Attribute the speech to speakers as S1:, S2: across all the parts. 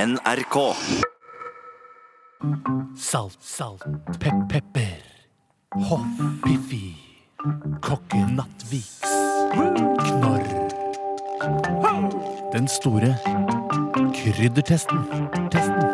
S1: NRK.
S2: Salt, salt, pep, pepper. Hoff, Piffi. Kokken, Nattviks. Knorr. Den store kryddertesten. Testen.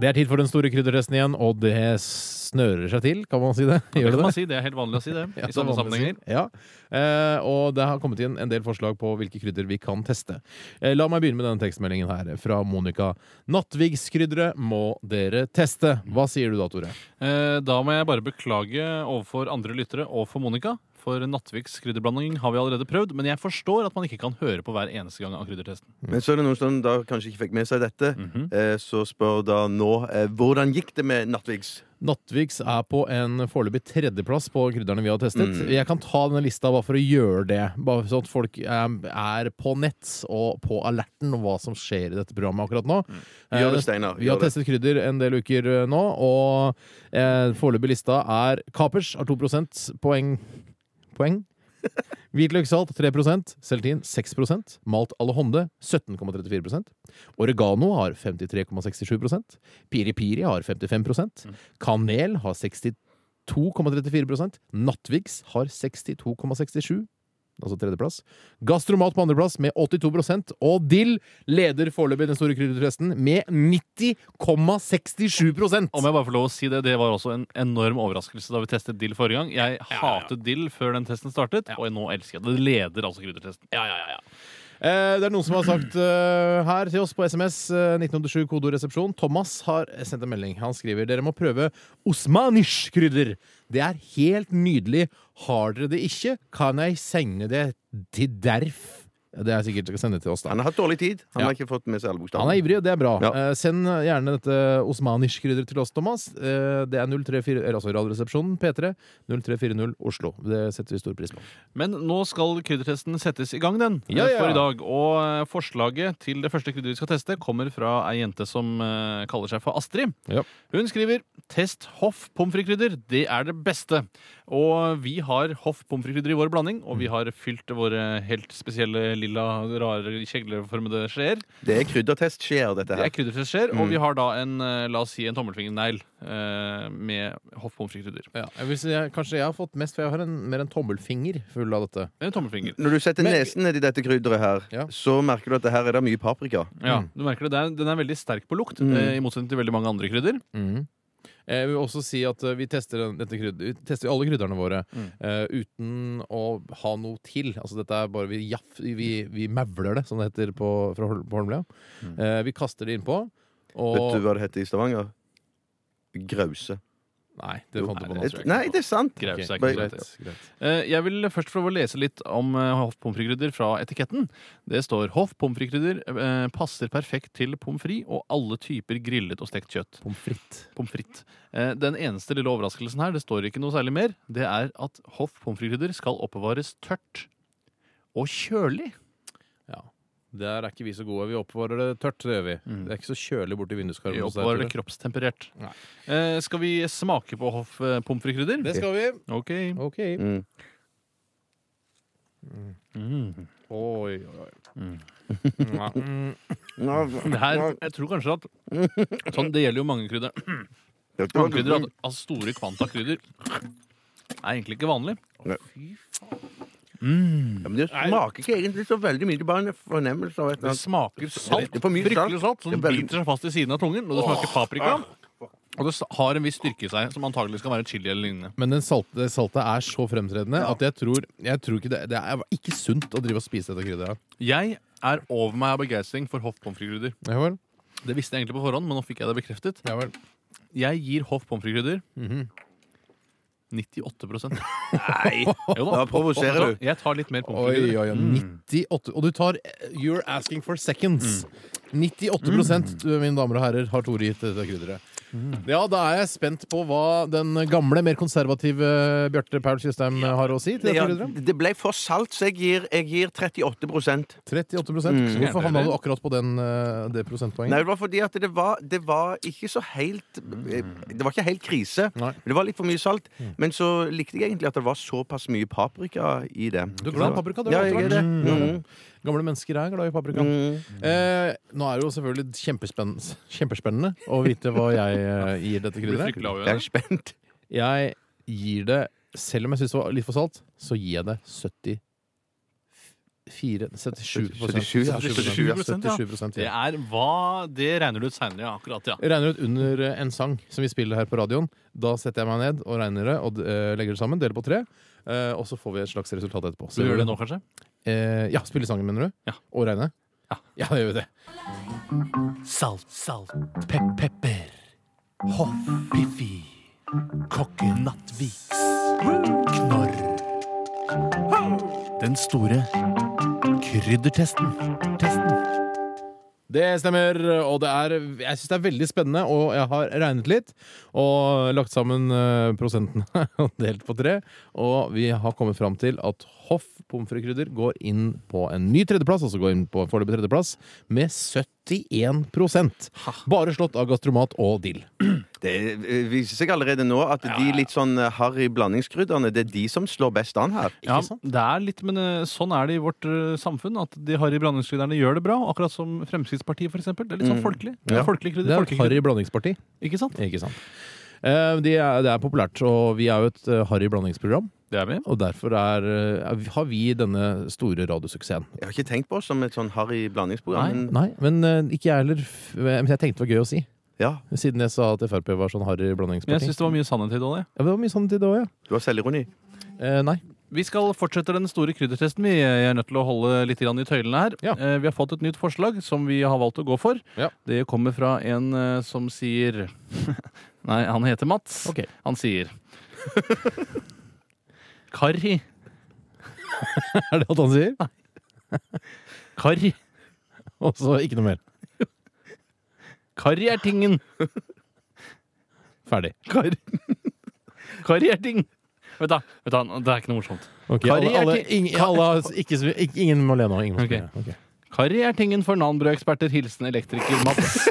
S3: Det er tid for den store kryddertesten igjen, og det snører seg til, kan man si det? Gjør
S4: Det
S3: det
S4: kan
S3: det?
S4: man si, det er helt vanlig å si det.
S3: Ja,
S4: I
S3: det er
S5: Sånn
S4: sånne
S3: vanlig å si.
S4: sammenhenger.
S3: Ja. Eh, og det har kommet inn en del forslag på hvilke krydder vi kan teste. Eh, la meg begynne med denne tekstmeldingen her fra Monica. Nattvigskrydderet må dere teste. Hva sier du da, Tore?
S4: Eh, Da må jeg bare beklage overfor andre lyttere og for Monica. For Nattviks krydderblanding har vi allerede prøvd, men jeg forstår at man ikke kan høre på hver eneste gang av kryddertesten.
S5: Mm. Men så er det noen som da kanskje ikke fikk med seg dette.
S3: Mhm.
S5: eh, Så spør da nå eh, hvordan gikk det med Nattvigs?
S3: Nattviks er på en foreløpig tredjeplass på krydderne vi har testet.
S5: Mm.
S3: Jeg kan ta denne lista bare for å gjøre det. Bare sånn at folk eh, er på nett og på alerten om hva som skjer i dette programmet akkurat nå.
S5: Gjør det,
S3: Eh,
S5: Steinar.
S3: Vi har
S5: Gjør det.
S3: testet krydder en del uker eh, nå, og eh, foreløpig lista er kapers har 2 poeng. poeng. Hvitløkssalt 3 seltin 6 malt alehonde 17,34 oregano har 53,67 piri piri har 55 kanel har 62,34 nattviks har 62,67 Altså tredjeplass. Gastromat på andreplass med 82 og dill leder foreløpig den store kryddertesten med 90,67
S4: Om jeg bare får lov å si det, det var også en enorm overraskelse da vi testet dill forrige gang. Jeg hatet dill før den testen startet, og nå elsker jeg det. Det leder altså kryddertesten.
S3: Eh, det er noen som har sagt eh, her til oss på SMS eh, 1987 kodoresepsjon. Thomas har sendt en melding. Han skriver dere må prøve osmanish-krydder. Det er helt nydelig. Har dere det ikke, kan jeg sende det til derf. Ja, Det er sikkert å sende til oss, da.
S5: Han har hatt dårlig tid. Han
S3: Ja.
S5: har ikke fått med seg alle
S3: Han
S5: bokstavene.
S3: er ivrig, og det er bra.
S5: Ja.
S3: Eh, send gjerne dette osmanish-krydderet til oss, Thomas. Eh, det er 034, eller altså Radioresepsjonen, P3, 0340 Oslo. Det setter vi stor pris på.
S4: Men nå skal kryddertesten settes i gang, den,
S3: Ja,
S4: eh,
S3: ja.
S4: for i dag. Og eh, forslaget til det første krydderet vi skal teste, kommer fra ei jente som eh, kaller seg for Astrid.
S3: Ja.
S4: Hun skriver 'Test Hoff pommes frites-krydder. Det er det beste'. Og vi har Hoff pommes frites-krydder i vår blanding, og vi har fylt våre helt spesielle lilla, rare, kjegleformede skjeer.
S5: Det er kryddertestskjeer, dette
S4: Det
S5: her.
S4: er kryddertestskjeer,
S3: Mm.
S4: og vi har da en, eh, la oss si, en tommelfingernegl eh, med Hoff pommes frites-krydder.
S3: Ja, jeg vil si, jeg, kanskje jeg har fått mest, for jeg har en, mer en tommelfinger full av dette.
S4: En Eh, tommelfinger.
S5: Når du setter
S3: Men-
S5: nesen nedi dette krydderet her,
S3: Ja.
S5: så merker du at det her er det mye paprika.
S4: Ja,
S3: Mm.
S4: du merker det. det er, den er veldig sterk på lukt,
S5: Mm.
S4: eh, i motsetning til veldig mange andre krydder.
S3: Jeg vil også si at eh, vi tester, den- dette krydder, vi tester alle krydderne våre eh, uten å ha noe til. Altså dette er bare Vi, jaff, vi, vi mævler det, som det heter på, fra Hol- på Holmlia. Eh, vi kaster det innpå. Og
S5: Vet du hva det heter i Stavanger? Grause.
S3: Nei, det fant du på nå.
S5: Et-
S3: tror jeg.
S5: Nei, det er sant!
S4: Graus er
S3: Ok,
S4: ikke så
S5: greit.
S4: lett.
S3: greit.
S4: Eh, Jeg vil først prøve å lese litt om eh, Hoff pommes frites-krydder fra etiketten. Det står Hoff pommes frites-krydder eh, passer perfekt til pommes frites og alle typer grillet og stekt kjøtt.
S3: Pommes frites.
S4: Pommes frites. Eh, Den eneste lille overraskelsen her, det står ikke noe særlig mer, det er at Hoff pommes frites-krydder skal oppbevares tørt og kjølig.
S3: Ja. Der er ikke vi så gode. Vi oppbevarer det tørt. Det gjør vi. Det er ikke så kjølig borti
S4: Vi
S3: vinduskarmen. hos deg,
S4: oppbevarer det
S3: Tore.
S4: kroppstemperert.
S3: Nei.
S4: Eh, Skal vi smake på Hoff eh, pommes frites-krydder?
S3: Det skal vi.
S4: Ok.
S3: OK.
S5: Mm.
S3: Mm. Oi, oi, oi. Ja. mm.
S5: Ja,
S4: Det her, jeg tror kanskje at sånn, Det gjelder jo mange krydder.
S5: dette var
S4: Håndkrydder av, av store kvanta krydder er egentlig ikke vanlig.
S5: Ja, men det smaker ikke egentlig så veldig mye. Det er bare en fornemmelse av et eller
S4: Det
S5: annet.
S4: smaker salt.
S5: Det er for mye
S4: Fryktelig salt. Som
S5: Det er veldig- Ah.
S4: biter seg fast i siden av tungen. Og det smaker paprika. Og det s- har en viss styrke i seg, som antagelig skal være chili eller lignende.
S3: Men den salte, det saltet er så fremtredende at jeg tror, jeg tror ikke det, det er ikke sunt å drive og spise dette krydderet.
S4: Jeg er over meg av begeistring for hoff pommes frites-krydder.
S3: Ja vel?
S4: Det visste jeg egentlig på forhånd, men nå fikk jeg det bekreftet.
S3: Ja vel.
S4: Jeg gir hoff pommes frites-krydder
S5: Mhm.
S4: 98 Nei! Jo
S5: Da
S4: da.
S5: provoserer du.
S4: Jeg tar litt mer pommes
S3: Oi,
S4: frites-krydder.
S3: oi, oi. 98 Og du tar eh, You're asking for seconds. 98 du, mine damer og herrer, har Tore gitt dette krydderet. Ja, da er jeg spent på hva den gamle, mer konservative Bjarte Paul Tjøstheim eh, har å si til dette
S5: Ja,
S3: krydderet.
S5: det ble for salt, så jeg gir, jeg gir 38
S3: 38
S5: Mm.
S3: Hvorfor havna du akkurat på den, eh, det prosentpoenget?
S5: Nei, det var fordi at det var, det var ikke så helt eh, Det var ikke helt krise.
S3: Mm. Nei. Mm.
S5: Det var litt for mye salt. Men så likte jeg egentlig at det var såpass mye paprika i det.
S3: Du Mm. er glad i paprika, du,
S5: Ja,
S3: etter
S5: jeg er
S3: hvert.
S5: det. Mhm.
S3: Gamle mennesker er glad i paprika. Eh, nå er det jo selvfølgelig kjempespennende, kjempespennende å vite hva jeg eh, gir dette
S4: Blir
S3: krydderet.
S4: fryktelig
S5: Jeg er
S4: avgjørende.
S5: spent.
S3: Jeg gir det, selv om jeg syns det var litt for salt, så gir jeg det 70 77
S5: 77, ja.
S3: 77
S4: 77, ja.
S3: 77
S4: Det
S3: ja.
S4: er hva Det regner du ut seinere, ja. Akkurat, ja.
S3: Jeg regner ut under eh, en sang som vi spiller her på radioen. Da setter jeg meg ned og regner det og eh, legger det sammen. Deler på tre. eh, og så får vi et slags resultat etterpå.
S4: Så du gjør det nå, kanskje?
S3: Eh, ja, spille sangen, mener du?
S4: Ja.
S3: Og regne?
S4: Ja.
S3: ja, det gjør vi det.
S2: Salt, salt, pep, pepper. Hoff, Piffi. Kokke Nattviks. Knorr. Den store kryddertesten. Testen.
S3: Det stemmer, og det er, jeg syns det er veldig spennende. Og jeg har regnet litt og lagt sammen eh, prosentene og delt på tre. Og vi har kommet fram til at Hoff pommes frites-krydder går inn på en ny tredjeplass, altså går inn på en foreløpig tredjeplass, med 71 Bare slått av Gastromat og Dill.
S5: Det eh, viser seg allerede nå at de litt sånn eh, harry blandingskrydderne, det er de som slår best an her.
S4: Ja, det er litt, men eh, sånn er det i vårt eh, samfunn. At de harry blandingskryderne gjør det bra. Akkurat som Fremskrittspartiet, f.eks. Det er litt sånn folkelig.
S5: Ja.
S4: Folkelig
S3: Mm.
S4: krydder.
S3: Det er et
S4: folkelig krydder.
S3: harry blandingsparti.
S4: Ikke sant?
S3: Ikke sant? Eh, de er, det er populært, og vi er jo et eh, harry blandingsprogram.
S4: Det er vi.
S3: Og derfor er, eh, har vi denne store radiosuksessen.
S5: Jeg har ikke tenkt på oss som et sånn harry
S4: Nei.
S5: blandingsprogram. men-
S3: Nei, men eh, ikke jeg heller. F- Men jeg tenkte det var gøy å si.
S5: Ja,
S3: Siden jeg sa at Frp var sånn harry
S4: Men jeg
S3: blandingsparti.
S4: syns det var mye sannhet i det òg.
S3: Ja, det var mye sånn til det òg, ja.
S5: du har selvironi.
S3: Eh, nei.
S4: Vi skal fortsette den store kryddertesten. Vi Jeg er nødt til å holde litt grann i tøylene her.
S3: Ja.
S4: Eh, Vi har fått et nytt forslag som vi har valgt å gå for.
S3: Ja.
S4: Det kommer fra en eh, som sier Nei, han heter Mats.
S3: Ok.
S4: Han sier Karri.
S3: Er det alt han sier?
S4: Karri.
S3: Og så ikke noe mer.
S4: Karri er tingen.
S3: Ferdig.
S4: Karri, karri er ting. Vet da, vet da, det er ikke noe morsomt.
S3: Ok,
S4: Karri
S3: alle,
S4: er
S3: alle,
S4: til-
S3: ingen, alle, har- ikke, så- ikke, ingen må le nå. Ingen må
S4: Ok.
S3: le. Ok.
S4: Karri er tingen for nanbrødeksperter. Hilsen elektriker Mats.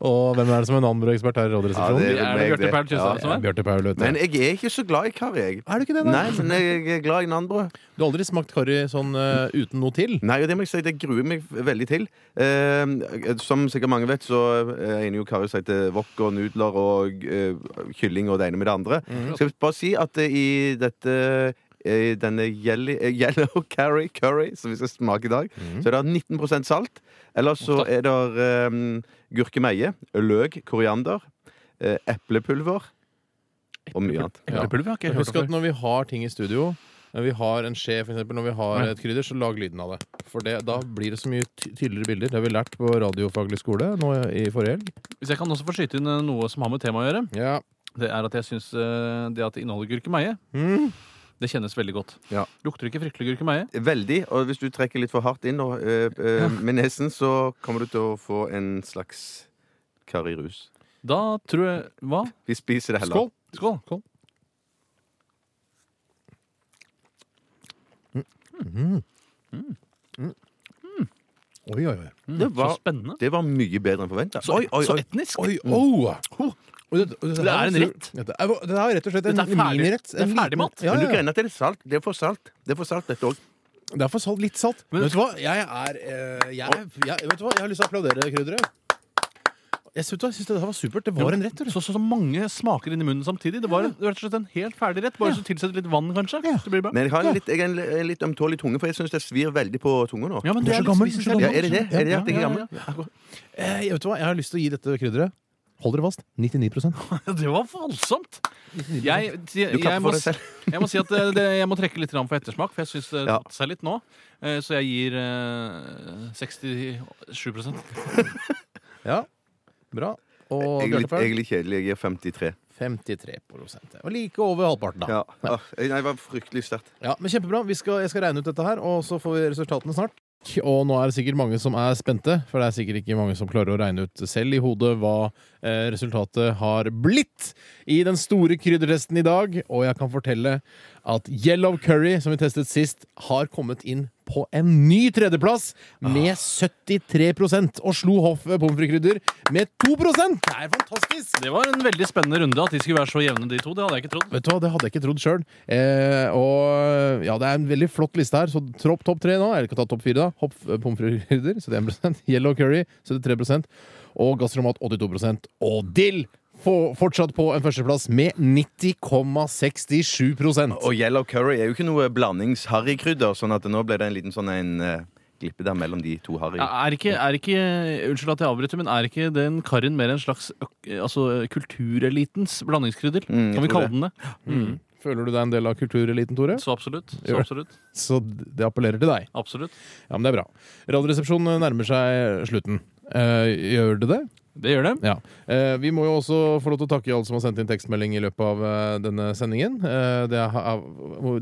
S3: Og hvem er det som er nanbrødekspert her i
S5: Ja,
S3: Radioresepsjonen?
S5: det-
S4: Er det
S5: meg,
S4: Bjarte Perl
S5: Ja,
S4: Tjøstheim som er?
S3: Bjarte Paul, vet du.
S5: Men jeg er ikke så glad i karri, jeg.
S3: Er du ikke det, da?
S5: Nei, men jeg er glad i nanbrød.
S3: Du har aldri smakt karri sånn eh, uten noe til?
S5: Nei, og det må jeg si, det gruer meg veldig til. Eh, som sikkert mange vet, så eh, egner jo Kari seg til wok og nudler og eh, kylling og det ene med det andre.
S3: Mhm.
S5: Skal jeg bare si at eh, i dette eh, denne jelly, eh, yellow curry, curry som vi skal smake i dag,
S3: Mhm.
S5: så er det 19 salt. Eller så er det um, gurkemeie, løk, koriander, eh, eplepulver og mye annet.
S3: Ja.
S4: Eplepulver har ikke jeg hørt
S3: Husk
S4: om
S3: at
S4: før.
S3: når vi har ting i studio når vi har en skje, for eksempel, når vi har et krydder, så lag lyden av det. For det, da blir det så mye ty tydeligere bilder. Det har vi lært på radiofaglig skole nå i forrige helg.
S4: Hvis jeg kan også få skyte inn eh, noe som har med temaet å gjøre.
S3: Ja.
S4: Det er at jeg syns eh, det at det inneholder gurkemeie,
S3: Mm.
S4: det kjennes veldig godt.
S5: Ja.
S4: Lukter ikke fryktelig gurkemeie?
S5: Veldig. Og hvis du trekker litt for hardt inn og, eh, eh, med nesen, så kommer du til å få en slags karrirus.
S4: Da tror jeg Hva?
S5: Vi spiser det heller.
S3: Skål!
S4: Skål.
S3: Oi, oi, oi.
S5: Det
S4: Så
S5: var,
S4: spennende.
S5: det var mye bedre enn forventa.
S4: Så, så etnisk.
S3: Oi, oh. Og det, og
S4: Det er en
S3: her-
S4: rett.
S3: Dette er, dette er rett og slett en
S4: Dette er ferdig-
S3: minirett.
S4: det er
S3: En
S4: ferdig
S3: liten-
S4: mat.
S3: Ja,
S5: Men du
S3: ja, ja.
S5: greier at det er salt. Det er for salt, det er for salt dette òg.
S3: Det er for salt, litt salt.
S4: Men-
S3: vet du hva? Jeg er eh, jeg, jeg, Vet du hva? Jeg har lyst til å applaudere krydderet. Jeg syns det, det her var supert. Det var en rett.
S4: Så, så, så mange smaker inni munnen samtidig. Det var en- rett og slett en helt ferdig rett. Bare så tilsett litt vann, kanskje. Så blir det bra.
S5: Men jeg har en litt, jeg er en, en litt ømtålig tunge, for jeg syns det svir veldig på tunga nå.
S4: Ja, men
S3: Du er
S4: det
S3: så
S4: er liksom-
S3: gammel, du er så
S4: litt, vi synes
S3: gammel.
S5: Ja,
S4: det
S5: er det det? Er det at jeg er gammel?
S3: Eh, vet du hva? Jeg har lyst til å gi dette krydderet Hold dere fast 99
S4: Ja, Det var voldsomt! Jeg, jeg,
S5: Du
S4: jeg,
S5: klapper
S4: må,
S5: for deg
S4: s- jeg må si at det, det, jeg må trekke litt grann for ettersmak, for jeg syns det
S5: Ja.
S4: tatt seg litt nå. Eh, Så jeg gir eh, 67
S3: Ja, bra. Og
S5: Jeg
S3: Bjarte
S5: er litt, jeg er
S3: Paul?
S5: litt kjedelig. Jeg er 53.
S3: 53 det var Like over halvparten, da.
S5: Ja. Åh, jeg- Nei, det var fryktelig sterkt.
S3: Ja, men Kjempebra. Vi skal, jeg skal regne ut dette her, og så får vi resultatene snart. Og nå er det sikkert mange som er spente, for det er sikkert ikke mange som klarer å regne ut selv i hodet hva eh, resultatet har blitt i den store kryddertesten i dag. Og jeg kan fortelle at Yellow Curry, som vi testet sist, har kommet inn på en ny tredjeplass med 73 og slo Hoff pommes frites-krydder med 2 Det er fantastisk!
S4: Det var en veldig spennende runde at de skulle være så jevne, de to. Det hadde jeg ikke trodd.
S3: Vet du hva, Det hadde jeg ikke trodd sjøl. Eh, og ja, det er en veldig flott liste her, så tropp topp tre nå. Eller ikke ta topp fire, da. Hoff eh, pommes frites-krydder 71 Yellow Curry 73 og Gastromat 82 Og Dill! få- Fortsatt på en førsteplass med 90,67
S5: Og yellow curry er jo ikke noe blandings-harrykrydder, sånn at nå ble det en liten sånn en eh, glippe der mellom de to harry.
S4: Ja, Er ikke, er ikke, unnskyld at jeg avbryter, men er ikke den karrien mer en slags øk- altså, kulturelitens blandingskrydder?
S5: Mm, jeg
S4: kan vi
S5: tror
S4: kalle den det?
S3: Føler du deg en del av kultureliten, Tore?
S4: Så absolutt. Så
S3: Gjør.
S4: absolutt.
S3: Så det appellerer til deg.
S4: Absolutt.
S3: Ja, men det er bra. Radioresepsjonen nærmer seg slutten. Eh, gjør det det?
S4: Det gjør det.
S3: Ja. Eh, vi må jo også få lov til å takke alle som har sendt inn tekstmelding i løpet av eh, denne sendingen. Eh, det, har,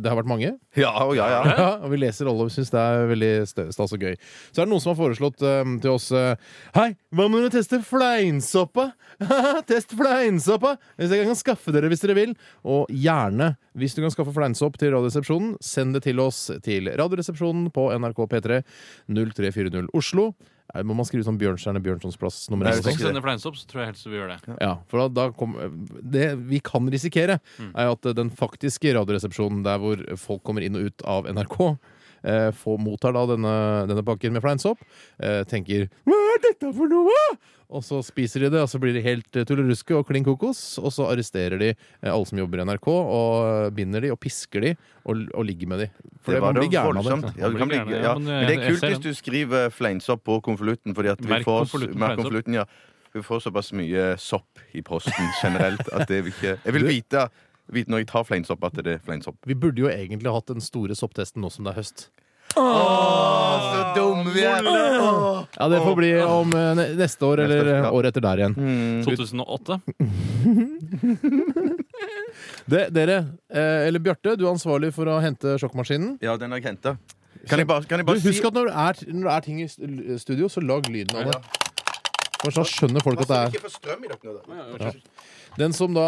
S3: det har vært mange.
S5: Ja, og ja, ja.
S3: Ja, og vi leser alle og syns det er veldig stø- stas og gøy. Så er det noen som har foreslått eh, til oss eh, Hei, hva om dere tester fleinsoppa? Test fleinsoppa! Hvis jeg kan skaffe dere hvis dere vil. Og gjerne, hvis du kan skaffe fleinsopp til Radioresepsjonen, send det til oss til Radioresepsjonen på NRK P3 0340 Oslo. Eh, Må man skrive sånn Bjørnstjerne Bjørnsons plass nummer
S5: Nei,
S3: én?
S5: det
S4: Hvis
S5: tenker
S4: noen
S5: jeg.
S4: sender fleinsopp, så tror jeg helst vi gjør det.
S3: Ja, for da, da kom, Det vi kan risikere, er jo at den faktiske radioresepsjonen der hvor folk kommer inn og ut av NRK, eh, får, mottar da denne, denne pakken med fleinsopp, eh, tenker 'Hva er dette for noe?' Og så spiser de det, og så blir de helt eh, tulleruske og klin kokos. Og så arresterer de eh, alle som jobber i NRK, og eh, binder de og pisker de og, og ligger med de. For det,
S5: var
S3: man
S5: da
S3: blir gæren av
S5: voldsomt.
S3: det.
S5: Ja, du kan bli,
S4: Man blir
S5: ja.
S4: gæren, ja, men,
S5: Men det
S4: eh,
S5: er
S4: jeg
S5: kult
S4: ser
S5: hvis du skriver fleinsopp på konvolutten. Fordi at vi
S4: Merk
S5: får,
S4: konvolutten
S5: merk
S4: fleinsopp.
S5: konvolutten, ja. vi får såpass mye sopp i posten generelt at det vil ikke Jeg vil vite, vite når jeg tar fleinsopp, at det er fleinsopp.
S3: Vi burde jo egentlig hatt den store sopptesten nå som det er høst.
S5: Så dumme vi er!
S3: Ja, Det får bli om eh, ne- neste år eller eh, året etter der igjen.
S4: 2008.
S3: Det, dere, eh, eller Bjarte, du er ansvarlig for å hente sjokkmaskinen.
S5: Ja, den har jeg henta. Kan jeg bare, kan jeg
S3: Du,
S5: bare
S3: husk
S5: si
S3: at når det, er, når det er ting i stu- studio, så lag lyden av det. For så skjønner folk at det er
S5: Ikke få strøm i dere nå, da.
S3: Den som da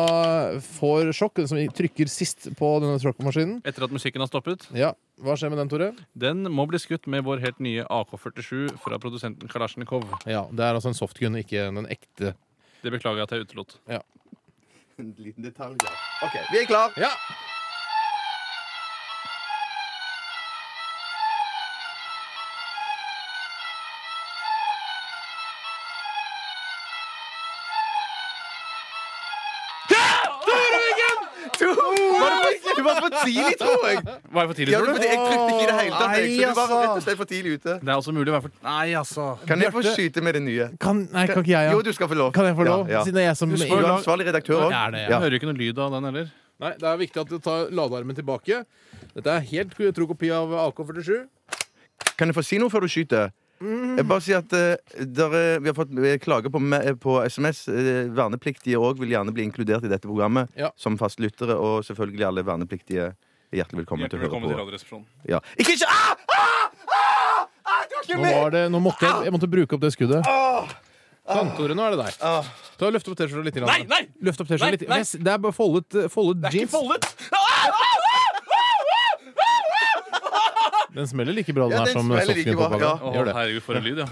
S3: får sjokk, den som trykker sist på denne sjokkmaskinen
S4: Etter at musikken har stoppet.
S3: Ja, Hva skjer med den, Tore?
S4: Den må bli skutt med vår helt nye AK-47 fra produsenten Kalasjnikov.
S3: Ja, Det er altså en softgun, ikke en ekte.
S4: Det beklager jeg at jeg utelot.
S5: En liten detalj. ja. OK, vi er klar.
S3: Ja!
S5: Du var for tidlig, tror jeg.
S4: Var jeg for tidlig,
S5: Ja,
S4: tror
S5: fordi
S4: du?
S5: jeg trykte ikke i det hele tatt. Jeg, så
S3: Nei,
S5: du var
S3: altså.
S5: rett og slett for tidlig ute.
S4: Det er også mulig å være for Nei, altså.
S5: Kan jeg få
S3: Bjarte-
S5: skyte med det nye?
S3: Kan, nei, kan ikke jeg,
S5: Jo,
S3: ja.
S5: du skal få lov.
S3: Kan jeg få lov?
S5: Ja, ja.
S3: Siden det er jeg som
S5: Du er ansvarlig redaktør òg.
S3: Ja, det er jeg.
S4: Jeg hører ikke noe lyd av den heller.
S3: Nei, Det er viktig at du tar ladearmen tilbake. Dette er helt tro kopi av AK-47.
S5: Kan jeg få si noe før du skyter?
S3: Mm.
S5: Jeg bare sier at eh, der, eh, Vi har fått eh, klager på, me- eh, på SMS. Eh, Vernepliktige òg vil gjerne bli inkludert i dette programmet
S3: Ja.
S5: som fastlyttere. Og selvfølgelig alle vernepliktige er hjertelig velkommen
S4: Hjertelig velkommen til
S5: til å høre på.
S4: Radioresepsjonen.
S5: ja. Ikke ikke ah!
S3: Nå var det, nå måtte jeg, jeg måtte bruke opp det skuddet. Sånn, Tore, nå er det deg. Ta og Løft opp T-skjorta litt. Nei,
S4: nei!
S3: Løft opp T-skjorta
S4: Nei,
S3: litt.
S4: nei!
S3: Yes, Det er bare foldet, eh, foldet jeans. Den smeller like bra, den
S5: Ja,
S3: her
S5: den
S3: som
S5: smeller like
S3: softgun
S5: bra,
S3: på
S5: ja.
S3: pakka.
S4: Å,
S3: Gjør det.
S4: herregud, for en lyd, ja.